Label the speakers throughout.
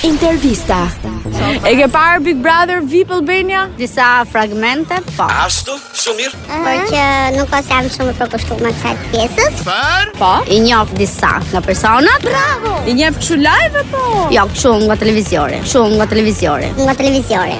Speaker 1: Intervista.
Speaker 2: E ke parë Big Brother VIP Albania?
Speaker 3: Disa fragmente, po.
Speaker 4: Ashtu, shumë mirë.
Speaker 5: por që nuk ose jam shumë e përkushtuar me kësaj pjesës.
Speaker 2: Po.
Speaker 3: I njoh disa nga personat. Bravo.
Speaker 2: I njeh kështu live apo?
Speaker 3: Jo, shumë nga televizori, shumë nga televizori.
Speaker 5: Nga televizori.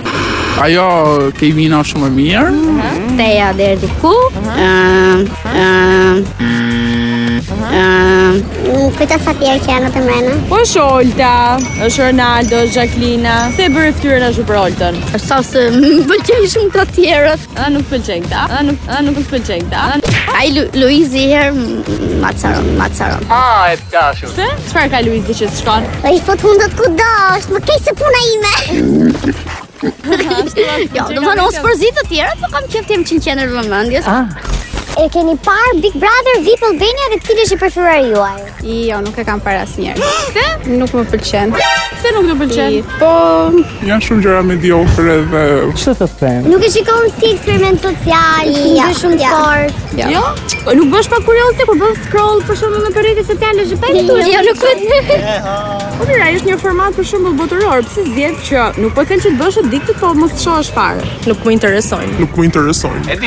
Speaker 6: Ajo ke i vina shumë e mirë,
Speaker 2: Mm.
Speaker 3: Teja deri diku.
Speaker 2: Uh-huh.
Speaker 3: Ehm, Ëm, ëm.
Speaker 2: Uh-huh.
Speaker 3: Ëm,
Speaker 5: Mm, Kujto sa tjerë që janë të mena.
Speaker 2: Po është Olta, është Ronaldo, është Jacquelina. Se e bëre fytyrën ashtu për Oltën.
Speaker 3: sa se më pëlqej shumë të tjerët.
Speaker 2: A nuk pëlqen këta? A nuk a nuk më pëlqen këta? A-
Speaker 3: Ai Lu- Luizi i herë mm, macaron, macaron.
Speaker 2: Se çfarë ka Luizi që të shkon?
Speaker 5: Po i fut hundët kudo, është më keq se puna ime.
Speaker 3: Jo, do të thonë mos përzit të tjerët, po kam qejf të jem qenqenë vëmendjes.
Speaker 5: E keni parë Big Brother VIP Albania dhe cili është i preferuar juaj?
Speaker 3: Jo, nuk e kam parë asnjëherë.
Speaker 7: Nuk më pëlqen.
Speaker 2: Se nuk të pëlqen.
Speaker 7: Po,
Speaker 6: janë shumë gjëra mediokre dhe
Speaker 5: Nuk e shikon si eksperiment social, shumë gjë shumë fort.
Speaker 2: Jo? O, Nuk bësh pa kurioze kur bën scroll për shembull në rrjetet sociale është pa
Speaker 5: Jo,
Speaker 2: ditur.
Speaker 5: nuk e di.
Speaker 2: Po mira, është një format për shembull botëror, pse zgjedh që nuk po them që të bësh addiktë, po mos të shohësh fare.
Speaker 7: nuk më interesojnë.
Speaker 6: nuk më interesojnë.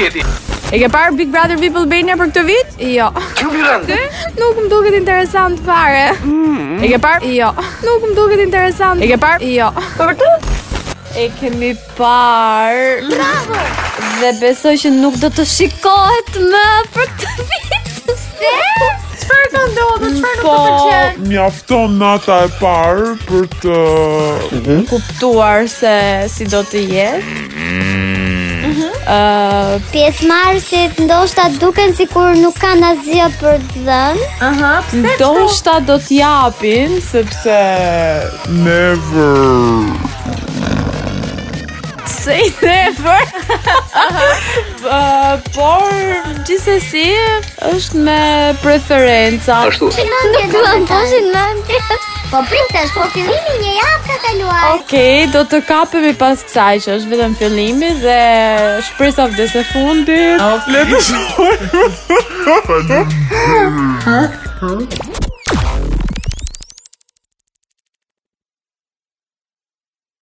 Speaker 2: E ke parë Big Brother VIP Albania për këtë vit?
Speaker 7: Jo.
Speaker 2: Nuk më duket interesant fare. E ke parë? Jo. Nuk më duket interesant. E ke parë? Jo. Po vërtet?
Speaker 7: E kemi parë. Bravo. Dhe besoj që nuk do të shikohet më për këtë vit. Se?
Speaker 2: Eh? Çfarë ka ndodhur? Çfarë nuk
Speaker 7: Po,
Speaker 2: të pëlqen?
Speaker 6: Mjafton nata e parë për të
Speaker 7: kuptuar se si do të jetë. Ëh,
Speaker 5: Pjesëmarrësit ndoshta duken sikur nuk kanë asgjë për të dhënë.
Speaker 2: Aha, pse?
Speaker 7: do shta do t'japin, sepse...
Speaker 6: never.
Speaker 7: Se i never. Ëh, Uh, por, gjithsesi, është me preferenca.
Speaker 5: Nuk duan tashin mendje. Po pritesh, po fillimi një javë ka kaluar.
Speaker 7: Okej, do të kapemi pas kësaj që është vetëm fillimi dhe shpresa vdes e fundit.
Speaker 6: Le të shohim.